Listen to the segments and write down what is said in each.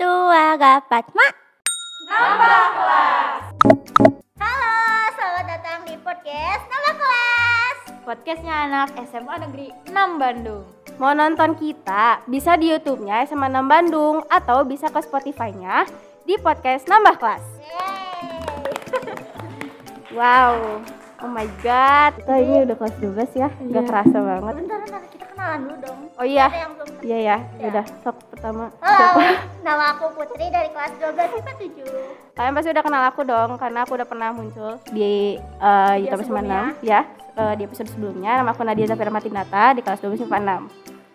Nawa Gapatma. Nambah kelas. Halo, selamat datang di podcast Nambah Kelas. Podcastnya anak SMA Negeri 6 Bandung. Mau nonton kita, bisa di YouTube-nya SMA 6 Bandung atau bisa ke Spotify-nya di podcast Nambah Kelas. Wow, oh my god. Kita ini udah kelas 12 ya, nggak kerasa banget. Bentar, bentar kita kenalan dulu dong. Oh iya, Ada yang belum kenal. iya ya, Iya. Ah. udah sok pertama. Halo, Siapa? nama aku Putri dari kelas 12 IPA 7. Kalian pasti udah kenal aku dong, karena aku udah pernah muncul di eh, YouTube SMA 6 ya. eh, di episode sebelumnya, nama aku Nadia Zafira Matinata di kelas 12 SMA 6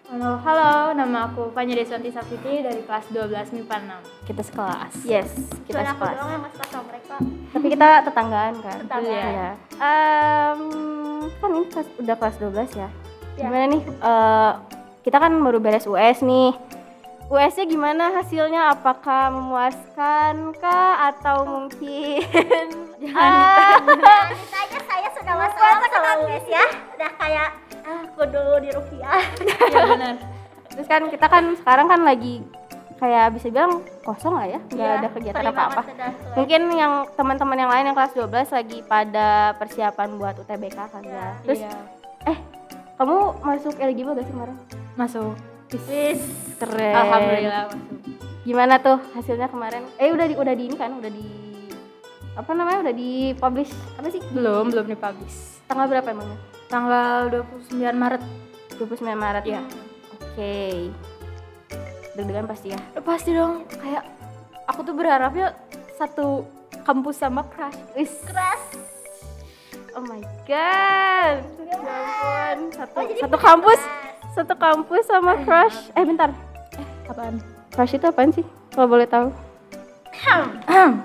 Halo, halo, nama aku Fanya Desanti Safitri dari kelas 12 MIPA Kita sekelas Yes, kita Cuma aku sekelas doang yang masuk sama mereka. Tapi kita tetanggaan kan? Tetanggaan. Iya. Em, kan ini kelas- udah kelas 12 ya. Iya. Gimana nih? eh, kita kan baru beres US nih. US-nya gimana hasilnya? Apakah memuaskan kah atau mungkin Ah, Nah, ditanya saya sudah masuk sama sama UNES ya. Udah kayak ah, aku dulu di Rupiah. 6. Iya benar. Terus kan kita kan sekarang kan lagi kayak bisa bilang kosong lah ya, nggak Iya, ada kegiatan sering apa-apa. banget sudah tuh. Mungkin yang teman-teman yang lain yang kelas 12 lagi pada persiapan buat UTBK kan Iya. ya. Terus kamu masuk LGB gak sih kemarin? masuk. Wis. Keren. Alhamdulillah masuk. Gimana tuh hasilnya kemarin? Eh udah di udah di ini kan udah di apa namanya udah di publish apa sih? Belum, belum dipublish. Tanggal berapa emangnya? Tanggal 29 Maret. 29 Maret Iya. Oke. Deg-degan pasti ya. Pasti dong, kayak aku tuh berharapnya satu kampus sama crush. Wis. Keras. Oh my god. Ya ampun. Satu Oh, jadi satu kampus. keras. Satu kampus sama crush. Eh bentar. Apaan? Crush itu apaan sih? Kalau boleh tahu. Ahem.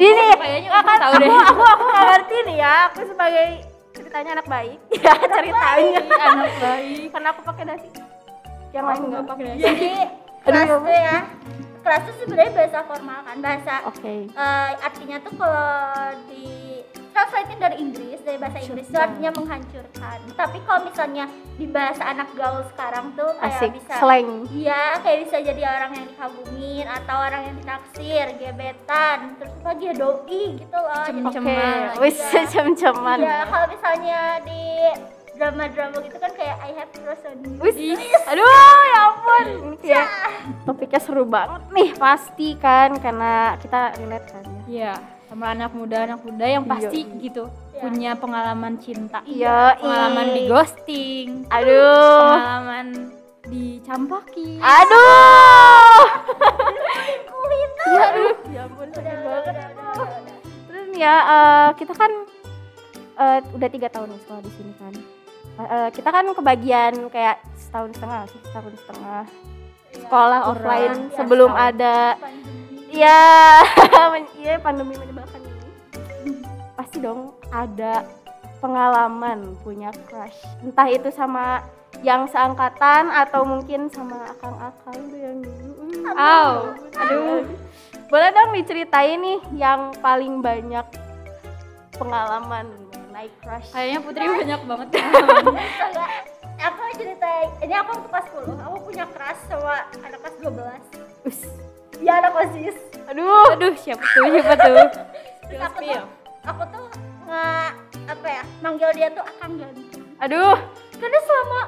Ini Kayaknya aku tahu deh. aku aku nggak ngerti nih ya aku sebagai ceritanya anak baik ya ceritanya Ih, anak baik. karena aku pakai dasi yang lain Aku nggak nggak pakai dasi. Jadi kelas tuh ya. Kelas tuh sebenarnya bahasa formal kan, bahasa oke eh, artinya tuh kalau di translatein dari Inggris, dari bahasa Inggris itu artinya menghancurkan. Tapi kalau misalnya di bahasa anak gaul sekarang tuh kayak asik bisa slang Iya, kayak bisa jadi orang yang dikagumin atau orang yang ditaksir, gebetan, terus apa dia doi gitu loh. Jadi- Cem-cem. oke Ceman. wis Iya. cem-ceman Iya, kalau misalnya di drama-drama gitu kan kayak I have crush on you. wis Ih. Iya. aduh ya ampun ini kayak topiknya seru banget nih pasti kan karena kita relate kan ya Iya, sama anak muda anak muda yang Iya, pasti iya. gitu Iya. punya pengalaman cinta, iya pengalaman di ghosting, Oh. aduh pengalaman dicampaki. aduh itu. ya aduh ya ampun Iya, Udah, sedih banget udah, udah, udah, aduh. udah, udah. Terus nih ya eh, kita kan eh, udah tiga tahun nih sekolah di sini kan. Eh, kita kan kebagian kayak setahun setengah sih, setahun setengah Iya, sekolah kurang, Iya, offline ya, sebelum setahun. ada pandemi. ya men- iya pandemi menyebalkan ini. Pasti dong ada pengalaman punya crush. Entah itu sama yang seangkatan atau mungkin sama akang-akang itu yang dulu. Hmm. Au, Aduh. Boleh dong diceritain nih yang paling banyak pengalaman naik crush. kayaknya Putri banyak banget. Astaga, aku cerita ini aku waktu kelas 10, aku punya crush sama anak kelas 12. Us. Iya, anak OSIS. aduh, aduh, siapa tuh, siapa tuh? Terus aku tuh aku tuh nge apa ya? Manggil dia tuh akang ganteng. Aduh, karena selama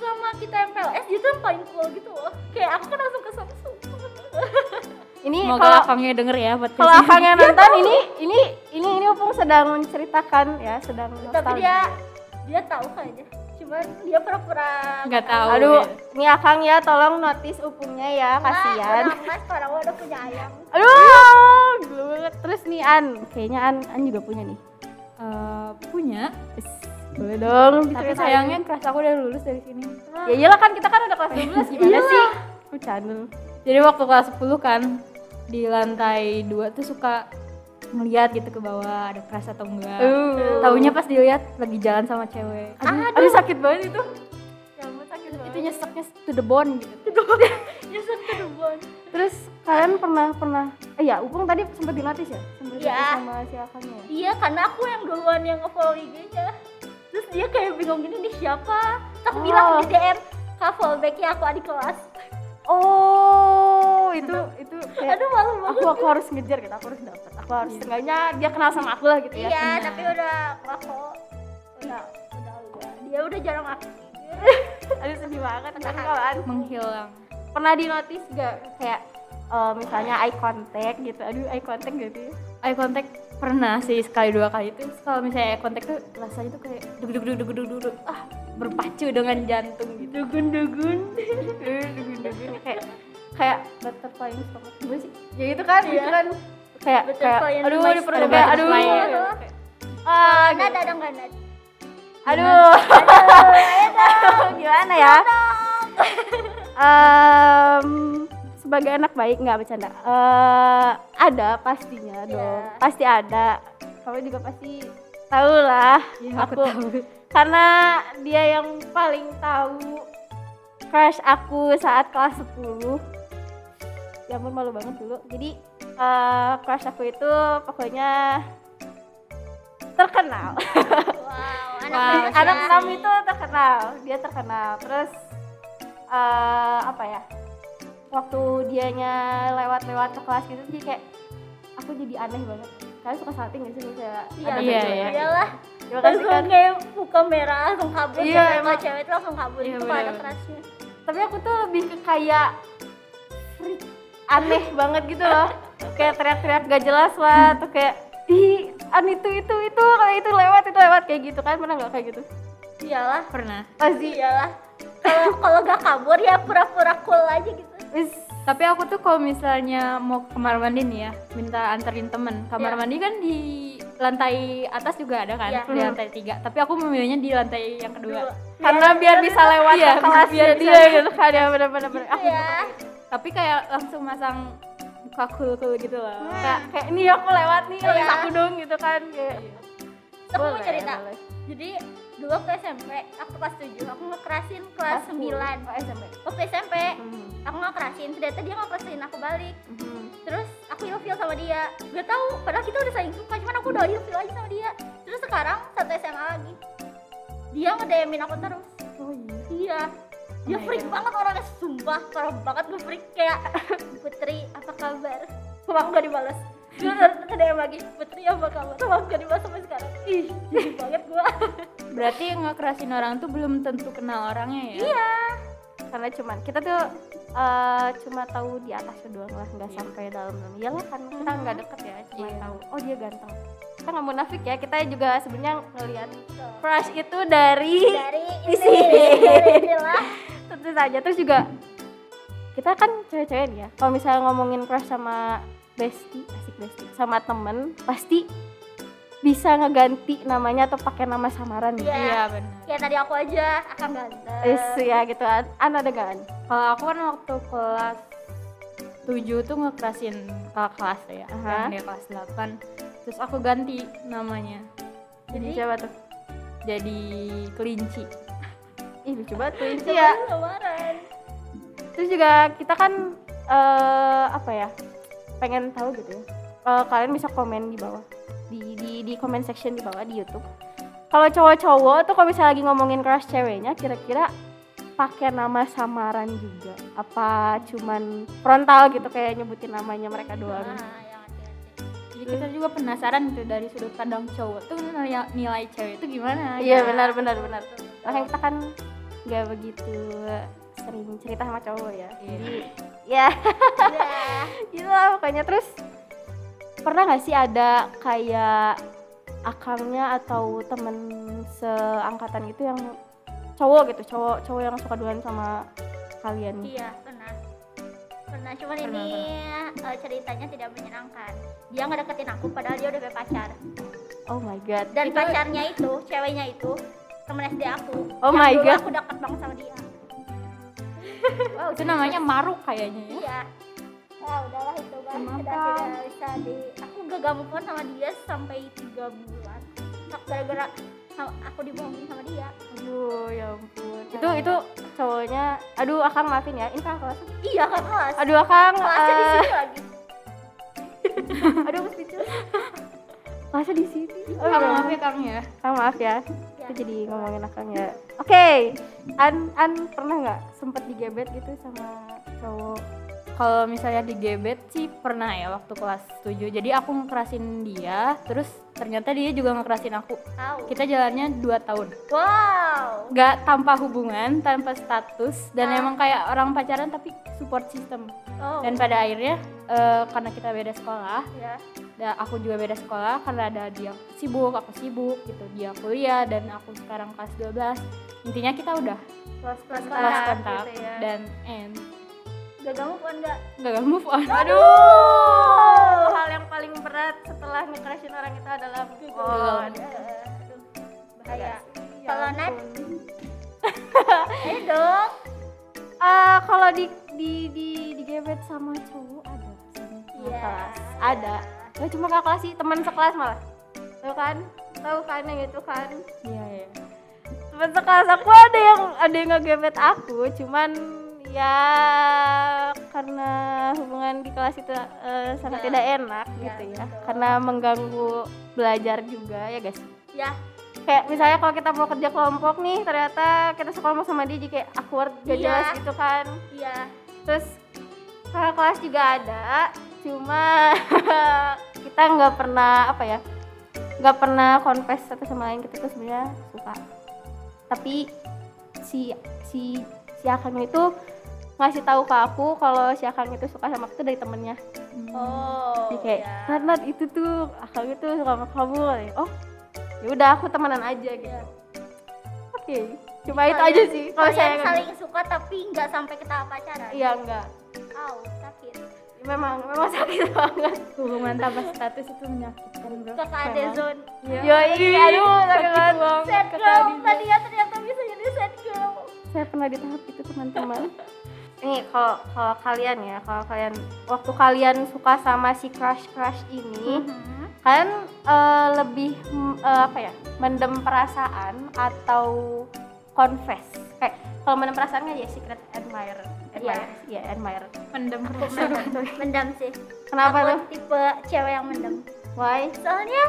selama kita MPLS dia tuh yang paling cool gitu loh kayak aku kan langsung ke Samsung ini Semoga kalau Akangnya denger ya buat kalau Akang yang nonton ini ini ini ini Opung sedang menceritakan ya, sedang tapi nostalgia. dia dia tahu kayaknya cuman dia pura-pura nggak tahu. Aduh, ini Akang ya tolong notice Upungnya ya, kasihan. mas sekarang udah punya ayam Aduh, gila banget. Terus nih An, kayaknya An An juga punya nih. Eh, punya, Us, Boleh dong. tapi diceritain. sayangnya kelas aku udah lulus dari sini. Iya. ya iyalah kan kita kan udah kelas 12 gimana Iyalah. sih? Oh, Bercanda. Jadi waktu kelas 10 kan di lantai dua tuh suka ngeliat gitu ke bawah ada keras atau enggak. Uh. Taunya pas dilihat lagi jalan sama cewek. Aduh, Aduh, aduh sakit banget itu. rambut sakit itu banget nyeseknya to the bone gitu. nyesek ke Dubon Terus kalian pernah pernah eh ya Upung tadi sempat dilatih ya? Sempat Iya. dilatih sama si Akang ya? iya karena aku yang duluan yang nge-follow IG-nya terus dia kayak bingung gini nih siapa Terus aku Oh. bilang di DM kak follow back ya aku adik kelas Oh, itu itu kayak aduh aku aku harus ngejar gitu aku harus dapet aku harus setengahnya dia kenal sama aku lah gitu ya iya tapi udah aku udah udah udah dia udah jarang aktif aduh sedih banget tapi kalau aduh menghilang pernah di notice gak kayak eh, misalnya eye contact gitu aduh eye contact gitu ya eye contact pernah sih sekali dua kali itu kalau misalnya eye contact tuh rasanya tuh gitu. kayak dug dug dug dug dug dug, dug. ah berpacu dengan jantung gitu dugun dugun dugun dugun kayak kayak butterfly in stomach gue sih ya itu kan itu kan kayak kayak Butterfly in aduh my di perut stomach. kayak aduh Butterfly. gitu. kayak, ah nada dong nggak nada aduh gimana ya Em, sebagai anak baik nggak bercanda Eh, ada pastinya dong Iya. pasti ada kamu juga pasti tahu lah Iya, aku, karena dia yang paling tahu crush aku saat kelas 10 ya ampun malu banget dulu jadi eh, crush aku itu pokoknya terkenal wow Wow, anak Iya, anak anak iya, enam itu terkenal dia terkenal terus eh, apa ya waktu dianya lewat-lewat ke kelas gitu jadi kayak aku jadi aneh banget kalian suka salting gak sih misalnya iya ada iya Iya, cewek? iya. iyalah Terima kasih, langsung kan? kayak buka merah langsung kabur Iya, cewek emang. kalau cewek tuh langsung kabur Iya, itu kalau ada bener-bener. kerasnya tapi aku tuh lebih ke kayak freak, aneh banget gitu loh kayak teriak-teriak gak jelas lah tuh kayak di an itu itu itu kalau itu lewat itu lewat kayak gitu kan pernah nggak kayak gitu iyalah pernah pasti iyalah kalau kalau nggak kabur ya pura-pura cool aja gitu Wis, tapi aku tuh kalau misalnya mau ke kamar mandi nih ya minta anterin temen Iya. kamar mandi kan di lantai atas juga ada kan Iya. di lantai tiga tapi aku memilihnya di lantai yang kedua Dua. karena biar bisa lewat Iya, ke kelas biar bisa dia gitu kan ya bener-bener Gitu aku ya tapi kayak langsung masang buka cool cool gitu loh kayak, kayak nih aku lewat nih Iya. lewat aku dong gitu kan kayak Terus aku mau Boleh, cerita boleh. jadi dulu aku SMP aku kelas 7 aku ngekerasin kelas 9 Oh, SMP waktu SMP Hmm, aku ngekerasin ternyata dia ngekerasin aku balik Mhm. terus aku ilfil sama dia gak tahu padahal kita udah saling suka cuman aku udah ilfil aja sama dia terus sekarang satu SMA lagi dia ngedemin aku terus oh iya iya dia Oh my freak God. banget orangnya sumpah parah banget gue freak kayak Putri apa kabar sama aku gak dibales dia udah nge-DM lagi Putri apa kabar sama aku gak dibales sampai sekarang ih jadi banget gue berarti ngekerasin orang tuh belum tentu kenal orangnya ya iya karena cuman kita tuh eh, cuma tahu di atas doang lah nggak sampai dalam dalam ya lah kan kita nggak deket ya cuma Iya. tahu oh dia ganteng kita nggak munafik ya kita juga sebenarnya ngelihat crush itu dari dari ini sini. dari inilah tentu saja terus juga kita kan cewek-cewek nih ya kalau misalnya ngomongin crush sama bestie asik bestie sama temen pasti bisa ngeganti namanya atau pakai nama samaran gitu Iya. iya benar kayak tadi aku aja akan ganteng Is, ya gitu an, an ada gak an? Kalau aku kan waktu kelas 7 tuh ngekerasin kakak kelas ya, Aha. yang dia kelas 8 Terus aku ganti namanya Jadi Jadi- siapa tuh? jadi kelinci Ih lucu banget tuh Inci ya. Iya. Lebaran. Terus juga kita kan eh apa ya? Pengen tahu gitu ya. Eh, kalian bisa komen di bawah di di di comment section di bawah di YouTube. Kalau cowok-cowok tuh kalau misalnya lagi ngomongin crush ceweknya kira-kira pakai nama samaran juga apa cuman frontal gitu kayak nyebutin namanya mereka doang. Ah, yang hati-hati. Jadi kita juga penasaran gitu dari sudut pandang cowok tuh nilai, nilai cewek itu gimana Iya gitu. benar benar benar. Makanya kita kan nggak begitu sering cerita sama cowok ya. Iya. Jadi ya Udah. gitu lah pokoknya terus pernah nggak sih ada kayak akamnya atau temen seangkatan gitu yang cowok gitu cowok cowok yang suka duluan sama kalian Iya, pernah. Pernah, cuman Pernah, ini eh, ceritanya tidak menyenangkan. Dia ngedeketin aku padahal dia udah punya pacar. oh my god Dan Itu- pacarnya itu, ceweknya itu temen SD aku. Oh Yang my dulu God. Aku deket banget sama dia. Wow, itu namanya maruk kayaknya ya. Iya. Ah, udahlah itu kan Kenapa? sudah tidak bisa di aku gak move on sama dia sampai tiga bulan Nah, gara-gara sama- aku dibohongin sama dia aduh ya ampun itu itu cowoknya aduh akang maafin ya ini kan kelas iya kakak kelas aduh akang kelasnya di eh, sini lagi aduh aku speechless. kelasnya di sini oh, Kang iya. maaf ya Kang ya. Kang maaf ya, kita Ya. jadi ngomongin akang ya. Oke, An An pernah nggak sempet digebet gitu sama cowok kalau misalnya digebet E sih pernah ya waktu kelas 7 jadi aku ngekerasin dia terus ternyata dia juga ngekerasin aku Tahu. kita jalannya 2 tahun Wow. nggak tanpa hubungan tanpa status dan Ah. emang kayak orang pacaran tapi support system Oh. dan pada akhirnya eh, karena kita beda sekolah ya. da- aku juga beda sekolah karena ada dia sibuk aku sibuk gitu dia kuliah dan aku sekarang kelas 12 intinya kita udah Kelas kelas kelas kontak gitu ya. dan end Gak ganggu kan enggak? nggak move on Aduh, hal yang paling berat setelah nge-crashin orang itu adalah move on. Bahaya. Kalau iya. Nat? Ayo dong. Eh, kalau di di di digebet sama cowok ada sih. Iya. kelas ada. Gak cuma kakak kelas sih, teman sekelas malah. Tuh kan? Tahu kan yang itu kan? iya iya Teman sekelas aku ada yang ada yang ngegebet aku, cuman ya karena hubungan di kelas itu eh, sangat Ya. tidak enak Ya, gitu ya. betul. Karena mengganggu belajar juga ya guys. Ya. kayak misalnya kalau kita mau kerja kelompok nih ternyata kita sekelompok sama dia jadi kayak awkward gak Iya. jelas gitu kan Iya. terus kakak kelas juga ada cuma kita nggak pernah apa ya nggak pernah confess satu sama lain kita tuh sebenarnya suka tapi si si si Akang itu ngasih tahu ke aku kalau si Akang itu suka sama aku tuh dari temennya Oh. jadi kayak ya. Nat Nat itu tuh Akang itu suka sama kamu oh ya udah aku temenan aja gitu Iya. Oke, cuma itu aja sih kalau saya kan. kalian saling suka tapi nggak sampai ke tahap pacaran. Iya enggak, Au, ya. sakit. memang memang sakit banget. hubungan tanpa status itu menyakitkan bro Kakak ada Memang. zone. Yo Iya, aduh sakit banget. Sad girl. Tadi ya ternyata bisa jadi sad girl. Saya pernah di tahap itu teman-teman. Nih kalau kalau kalian ya, kalau kalian waktu kalian suka sama si crush crush ini, Mhm. kalian eh, lebih mm, eh, apa ya, mendem perasaan atau confess? Kayak kalau mendem perasaan kan ya secret admirer, admirer, ya Iya. admirer. pendem Mendam sih. Kenapa Aku tuh? tipe cewek yang mendam. Why? soalnya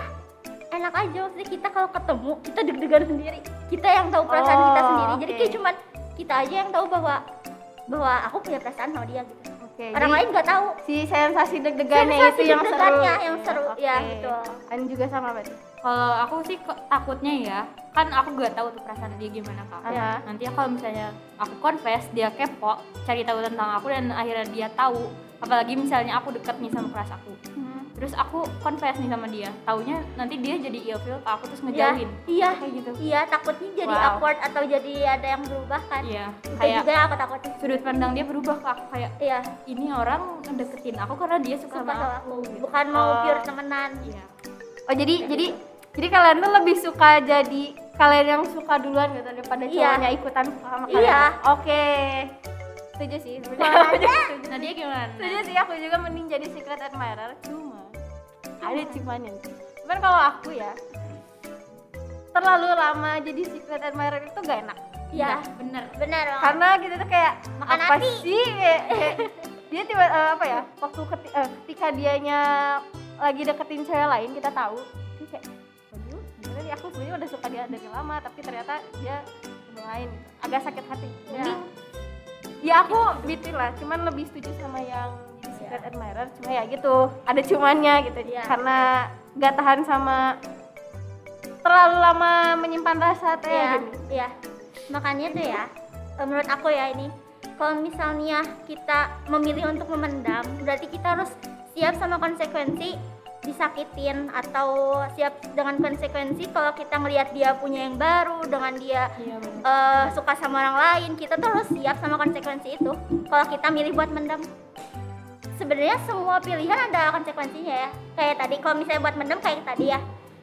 enak aja maksudnya kita kalau ketemu kita deg-degan sendiri kita yang tahu perasaan Oh, kita sendiri jadi oke. kayak cuman kita aja yang tahu bahwa bahwa aku punya perasaan sama dia gitu Oke. orang jadi- lain nggak tahu si sensasi deg-degannya Sensasi itu yang seru deg-degannya yang seru, ya, oke. betul. Ani juga sama berarti kalau aku sih kok takutnya ya kan aku gak tahu tuh perasaan dia gimana kak Iya. nanti ya kalau misalnya aku confess dia kepo cari tahu tentang aku dan akhirnya dia tahu apalagi misalnya aku deket nih sama crush aku Hmm. terus aku confess nih sama dia taunya nanti dia jadi ilfil ke aku terus ya ngejauhin iya kayak gitu iya takutnya jadi Wow. awkward atau jadi ada yang berubah kan iya itu kayak juga yang aku takutin sudut pandang dia berubah ke aku kayak iya ini orang deketin aku karena dia suka suka sama sama aku aku gitu. bukan mau Oh. pure temenan iya oh jadi jadi jadi kalian tuh lebih suka jadi kalian yang suka duluan gitu daripada Iya. cowoknya ikutan suka sama kalian Iya. oke setuju sih sebenarnya Soalnya nah dia gimana setuju sih aku juga mending jadi secret admirer cuma ada cumanya cuman kalau aku ya terlalu lama jadi secret admirer itu gak enak Ya. iya bener benar banget. karena kita tuh kayak Makan apa hati. sih Kayak- kayak dia tiba eh, apa ya waktu keti- eh, ketika dianya lagi deketin cewek lain kita tahu dia kayak waduh gimana nih aku sebenarnya udah suka dia dari lama tapi ternyata dia yang lain gitu. agak sakit hati mending ya aku between lah cuman lebih setuju sama yang jadi secret admirer cuma ya gitu ada cumannya gitu Iya. karena nggak tahan sama terlalu lama menyimpan rasa teh Iya, gini. iya. Makanya tuh ya, eh, menurut aku ya ini, kalau misalnya kita memilih untuk memendam, berarti kita harus siap sama konsekuensi disakitin atau siap dengan konsekuensi kalau kita ngelihat dia punya yang baru dengan dia iya bener eh, suka sama orang lain kita tuh harus siap sama konsekuensi itu kalau kita milih buat mendem sebenarnya semua pilihan ada konsekuensinya ya kayak tadi kalau misalnya buat mendem kayak tadi ya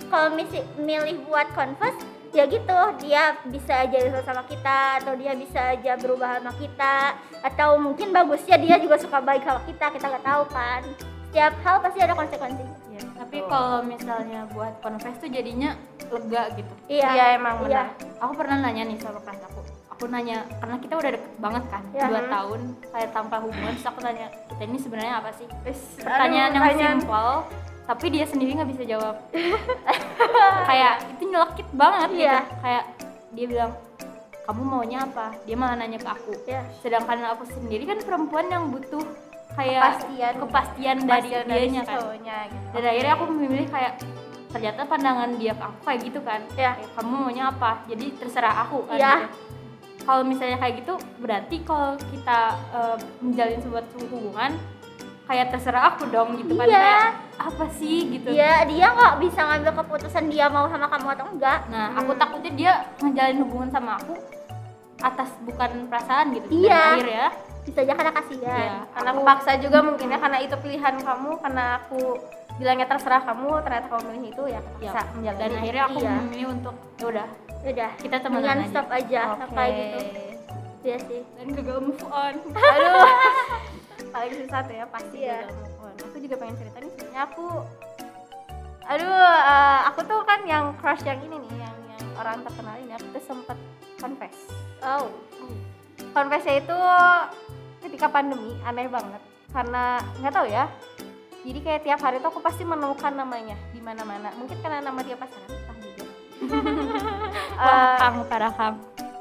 kalau misi, milih buat confess ya gitu dia bisa aja ilfil sama kita atau dia bisa aja berubah sama kita atau mungkin bagusnya dia juga suka baik sama kita kita nggak tahu kan setiap hal pasti ada konsekuensinya Iya, tapi kalau misalnya buat confess tuh jadinya lega gitu iya Iya, emang iya benar. aku pernah nanya nih sama kelas aku aku nanya karena kita udah deket banget kan Ya. dua tahun kayak tanpa hubungan terus aku tanya kita ini sebenarnya apa sih Wis, pertanyaan aduh, yang pertanyaan. simpel tapi dia sendiri nggak bisa jawab kayak itu nyelekit banget Iya. gitu kayak dia bilang kamu maunya apa dia malah nanya ke aku Iya. sedangkan aku sendiri kan perempuan yang butuh kayak Iya. kepastian kepastian, dari kepastian dari dianya si kan cowoknya gitu. dan akhirnya aku memilih kayak ternyata pandangan dia ke aku kayak gitu kan Iya. Kayak, kamu maunya apa jadi terserah aku kan Iya. gitu. kalau misalnya kayak gitu berarti kalau kita eh, menjalin sebuah hubungan kayak terserah aku dong gitu kan Iya. kayak apa sih gitu Iya, dia nggak bisa ngambil keputusan dia mau sama kamu atau enggak. nah aku takutnya dia ngejalin hubungan sama aku atas bukan perasaan gitu Dan Iya. akhirnya Bisa aja karena ya, kasihan. Iya, karena aku paksa juga mungkin ya karena itu pilihan kamu karena aku bilangnya terserah kamu ternyata kamu milih itu ya ya, bisa menjalani dan akhirnya aku Iya. memilih untuk ya udah Udah. kita Mendingan temenan aja stop aja Oke. kayak gitu. Iya sih. dan gagal move on aduh paling susah tuh ya pasti Iya. gagal move on. aku juga pengen cerita nih sebenarnya aku aduh eh, aku tuh kan yang crush yang ini nih yang yang orang terkenal ini aku tuh sempet confess Oh. confessnya itu ketika pandemi aneh banget karena nggak tahu ya jadi kayak tiap hari tuh aku pasti menemukan namanya di mana-mana mungkin karena nama dia pasaran entah juga Eh, Ah. kamu parah kamu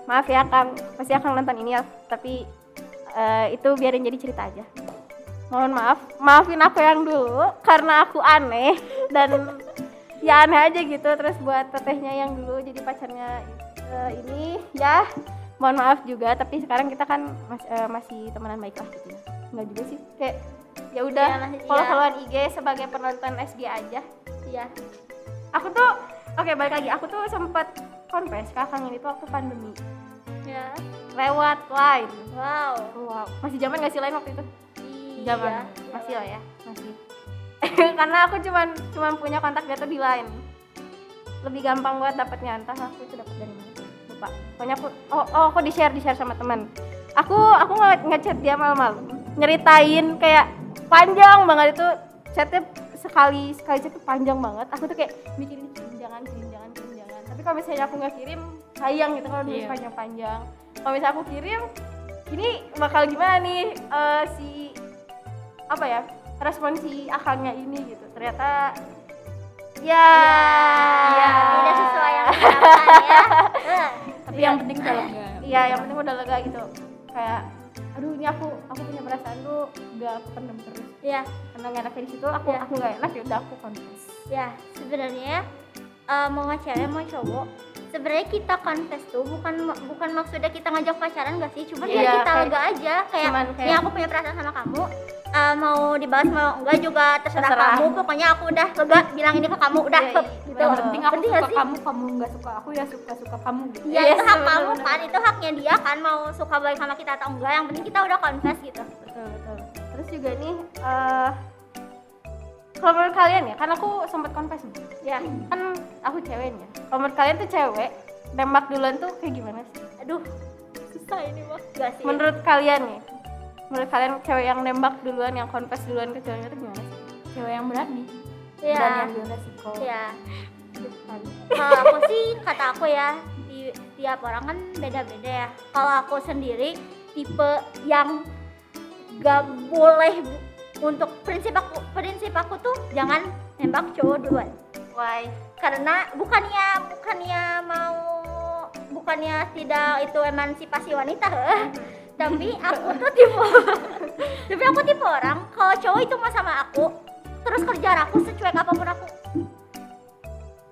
maaf ya Kang, pasti akan nonton ini ya, tapi eh, itu biarin jadi cerita aja. Mohon maaf, maafin aku yang dulu karena aku aneh dan ya aneh aja gitu. Terus buat tetehnya yang dulu jadi pacarnya eh, ini ya, mohon maaf juga. Tapi sekarang kita kan mas- eh, masih temenan baik lah gitu ya. Enggak juga sih, kayak ya udah Iya, masih- follow iya. followan IG sebagai penonton SG aja Iya. aku tuh oke balik lagi aku tuh sempet confess ke Kang ini tuh waktu pandemi Iya. lewat line Wow. wow masih zaman gak sih line waktu itu Zaman. Iya. masih lah ya masih karena aku cuman cuman punya kontak dia tuh di line lebih gampang buat dapetnya entah aku itu dapet dari mana lupa pokoknya aku oh, oh aku di share di share sama teman aku aku nge- ngechat dia malam-malam nyeritain kayak panjang banget itu chatnya sekali sekali chat tuh panjang banget aku tuh kayak mikirin "Kirim jangan kirim jangan kirim jangan tapi kalau misalnya aku nggak kirim sayang gitu kalau nulis Iya. panjang-panjang kalau misalnya aku kirim ini bakal gimana nih eh, si apa ya respon si akangnya ini gitu ternyata ya Iya, tidak sesuai yang diharapkan ya. Eh, tapi yang penting kalau nggak iya yang penting udah lega gitu kayak aduh ini aku aku punya perasaan tuh gak aku pendem terus Iya. karena gak enaknya di situ aku Iya. aku gak enak ya udah aku confess ya sebenarnya eh, mau cewek mau cowok sebenarnya kita confess tuh bukan bukan maksudnya kita ngajak pacaran gak sih cuman Iya, kayak kita kayak- lega aja kayak cuman kayak- ya aku punya perasaan sama kamu eh, mau dibahas mau enggak juga terserah, Terserah. kamu pokoknya aku udah lega bilang ini ke kamu udah Iya, klep, iya. gitu yang penting aku Penting suka nggak sih? kamu kamu nggak suka aku ya suka suka kamu gitu Ya Iya, itu hak bener, kamu bener. kan, itu haknya dia kan mau suka baik sama kita atau enggak Yang penting kita udah confess gitu betul betul terus juga nih eh kalau menurut kalian ya kan aku sempet confess nih. Ya, kan aku ceweknya kalau menurut kalian tuh cewek nembak duluan tuh kayak gimana sih aduh susah ini mah Gak sih menurut kalian nih menurut kalian cewek yang nembak duluan yang confess duluan ke cowoknya tuh gimana sih cewek yang berani Iya. berani ambil resiko Ya, Depan. kalau aku sih kata aku ya di, tiap orang kan beda-beda ya kalau aku sendiri tipe yang gak boleh bu- untuk prinsip aku prinsip aku tuh jangan nembak cowok duluan why karena bukannya bukannya mau bukannya tidak itu emansipasi wanita eh. tapi aku tuh tipe tapi aku tipe orang kalau cowok itu mau sama aku terus kerjaan aku secuek apapun aku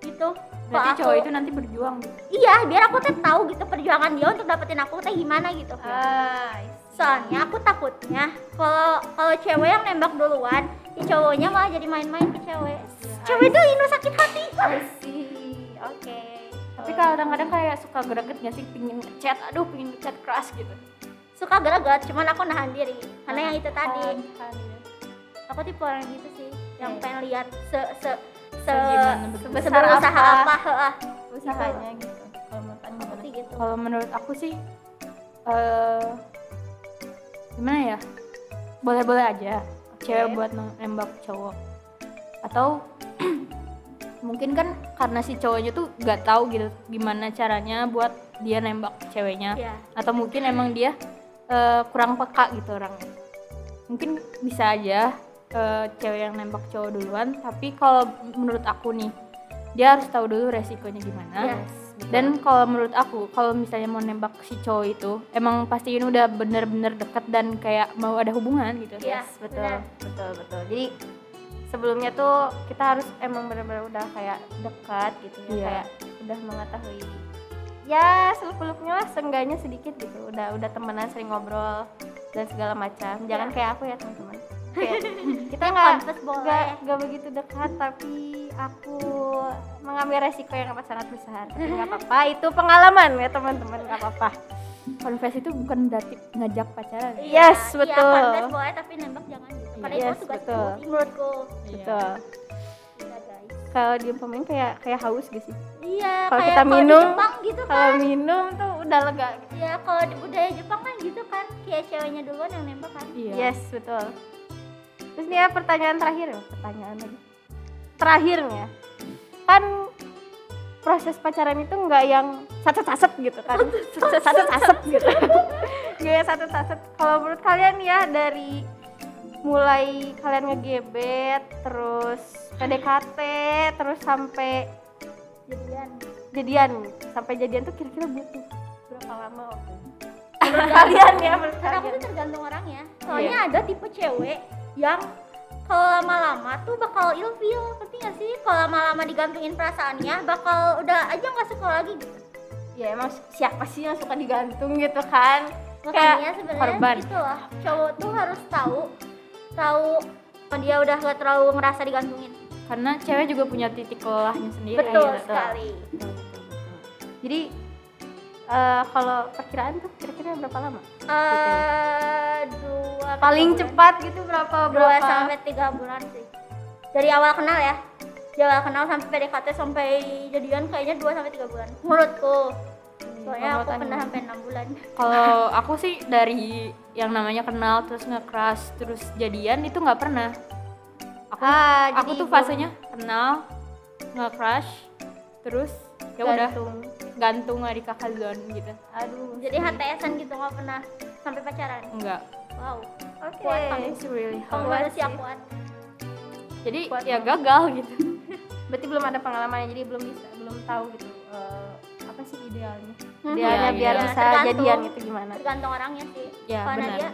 gitu berarti Kalau cowok aku- itu nanti berjuang gitu iya biar aku tuh tahu gitu perjuangan dia untuk dapetin aku teh gimana gitu ah I see. soalnya aku takutnya kalau kalau cewek yang nembak duluan si cowoknya malah jadi main-main ke cewek Iya. cewek itu inu sakit hati I see. oke tapi kadang-kadang kayak suka greget nggak sih pingin chat aduh pingin chat keras gitu suka gelagat cuman aku nahan diri karena yang itu tadi Tahan, tahan gitu. aku tipe orang gitu sih yang Iya. pengen lihat se se se Segimana berjuang. sebesar usaha apa, heeh. usahanya gitu kalau menurut Ani Aku gimana sih gitu kalau menurut aku sih eh gimana ya boleh-boleh aja cewek buat neng- nembak cowok atau mungkin kan karena si cowoknya tuh nggak tahu gitu gimana caranya buat dia nembak ya. ceweknya Iya. atau mungkin emang dia eh, kurang peka gitu orangnya mungkin bisa aja eh, cewek yang nembak cowok duluan tapi kalau menurut aku nih dia harus tahu dulu resikonya gimana Iya. gitu. Dan kalau menurut aku, kalau misalnya mau nembak si cowok itu, emang pastiin udah bener-bener deket dan kayak mau ada hubungan gitu. Iya. Yes, betul, benar. betul, betul. Jadi sebelumnya tuh kita harus emang benar-benar udah kayak dekat gitu ya, Iya. kayak udah mengetahui ya seluk-beluknya lah seenggaknya sedikit gitu udah udah temenan sering ngobrol dan segala macam jangan kayak aku ya teman-teman Kayak kita nggak Kampus boleh. nggak nggak begitu dekat tapi aku mengambil resiko yang amat sangat besar Tapi nggak apa-apa itu pengalaman ya teman-teman nggak apa-apa Confess itu bukan berarti ngajak pacaran. ya? Iya, Yes, betul. Iya, confess boleh tapi nembak jangan gitu. Karena Yes, itu tugas betul. betul. menurutku. betul Iya, guys. kalau diem pemain kayak kayak haus gitu sih Iya, Kalau kayak kita kalau di minum, Jepang gitu kan. kalau minum tuh udah lega Iya, kalau di budaya Jepang kan gitu kan, kayak ceweknya duluan yang nembak kan. Iya. yes betul terus nih ya pertanyaan terakhir ya pertanyaan lagi terakhirnya kan proses pacaran itu nggak yang satu saset gitu kan satu saset gitu nggak yang Iya, satu saset kalau menurut kalian ya dari mulai kalian ngegebet terus PDKT terus sampai Jadian. jadian sampai jadian tuh kira-kira butuh berapa lama waktu itu? menurut kalian ya menurut Karena aku kalian tuh tergantung orangnya. Soalnya ada tipe cewek yang kalau lama-lama tuh bakal ilfeel, ngerti gak sih? Kalau lama-lama digantungin perasaannya, bakal udah aja nggak suka lagi gitu. ya emang siapa sih yang suka digantung gitu kan Makanya sebenarnya korban. gitu lah, cowok tuh harus tahu, tahu kalau dia udah gak terlalu ngerasa digantungin. Karena cewek juga punya titik lelahnya sendiri. Betul gitu. sekali. jadi eh, kalau perkiraan tuh kira-kira berapa lama Eh, dua paling bulan. cepat gitu berapa dua berapa sampai tiga bulan sih dari awal kenal ya dari awal kenal sampai PDKT sampai jadian kayaknya dua sampai tiga bulan menurutku soalnya aku menurut pernah Ani. sampai enam bulan Kalau aku sih dari yang namanya kenal terus nge-crush terus jadian itu nggak pernah. Aku ah aku tuh fasenya kenal, nge-crush terus ya udah gantung lah di kakak zone gitu. aduh jadi HTSan gitu nggak pernah sampai pacaran Enggak. wow oke kuat kamu It's really kamu hard. manusia sih. kuat Jadi Kuat ya gagal gitu. berarti belum ada pengalamannya jadi belum bisa belum tahu gitu eh, apa sih idealnya Mhm. idealnya biar Iya, iya. bisa Tergantung. jadian itu gimana tergantung orangnya sih Ya, karena benar. dia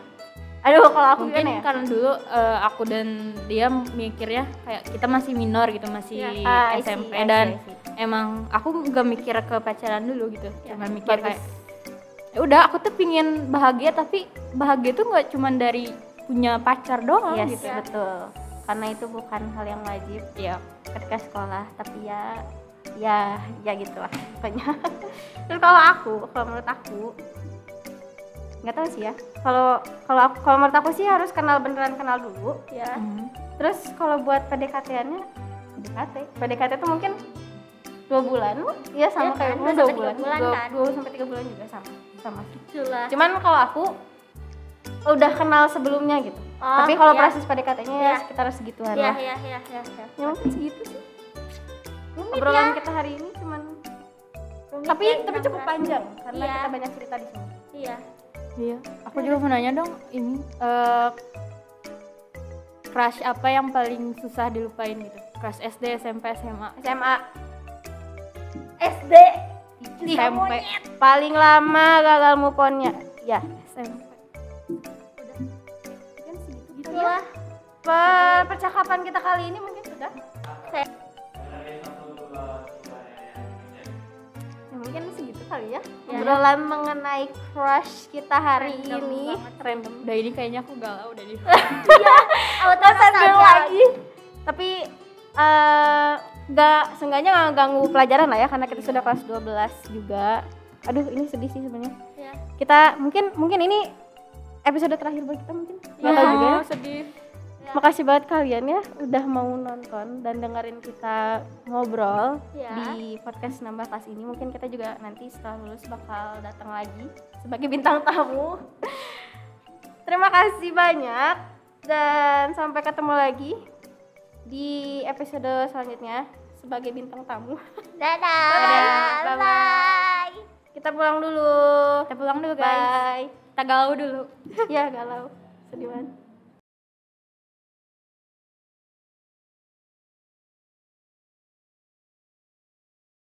aduh kalau aku mungkin gimana ya karena dulu eh, aku dan dia mikirnya kayak kita masih minor gitu masih Iya. Ah, I see, SMP I see, dan I see. emang aku nggak mikir ke pacaran dulu gitu cuma mikir bagus. kayak "Ya udah aku tuh pingin bahagia tapi bahagia tuh nggak cuma dari punya pacar doang Yes, gitu Iya betul. Karena itu bukan hal yang wajib ya ketika sekolah, tapi ya ya ya gitulah pokoknya. Terus kalau aku, kalau menurut aku nggak tahu sih ya. Kalau kalau aku- kalau menurut aku sih harus kenal beneran kenal dulu. ya Hmm. Terus kalau buat PDKT-annya PDKT, PDKT itu mungkin dua bulan, iya sama Iya kayak kan, kamu dua dua sampai tiga bulan, bulan dua, kan. Nah. dua sampai tiga bulan juga sama, sama. itulah Cuman kalau aku udah kenal sebelumnya gitu. Oh, Tapi kalau iya. proses PDKT-nya ya Iya. sekitar segituan ya lah. ya ya ya ya Ya mungkin segitu sih. Rumit Obrolan ya. kita hari ini cuman Rumit tapi ya, tapi cukup enam bulan. panjang karena Iya. kita banyak cerita di sini. iya iya aku juga mau nanya dong ini eh, crush apa yang paling susah dilupain gitu crush SD SMP SMA SMA SD Ih, SMP Iya. paling lama gagal move on-nya. Ya, SMP mungkin segitu. itulah Per- percakapan kita kali ini mungkin sudah. Saya- Ya, mungkin segitu kali ya. Ya. Obrolan mengenai crush kita hari Random ini. banget. Random. udah ini kayaknya aku galau udah di auto sambil lagi tapi eh, nggak seenggaknya nggak ganggu pelajaran lah ya karena kita sudah kelas 12 juga aduh ini sedih sih sebenarnya ya kita mungkin mungkin ini episode terakhir buat kita mungkin Iya. nggak tahu juga ya sedih makasih banget kalian ya udah mau nonton dan dengerin kita ngobrol Ya. di podcast nambah kelas ini mungkin kita juga nanti setelah lulus bakal datang lagi sebagai bintang tamu terima kasih banyak dan sampai ketemu lagi di episode selanjutnya sebagai bintang tamu dadah, Bye-bye. bye kita pulang dulu kita pulang dulu guys bye kita galau dulu ya galau sedih banget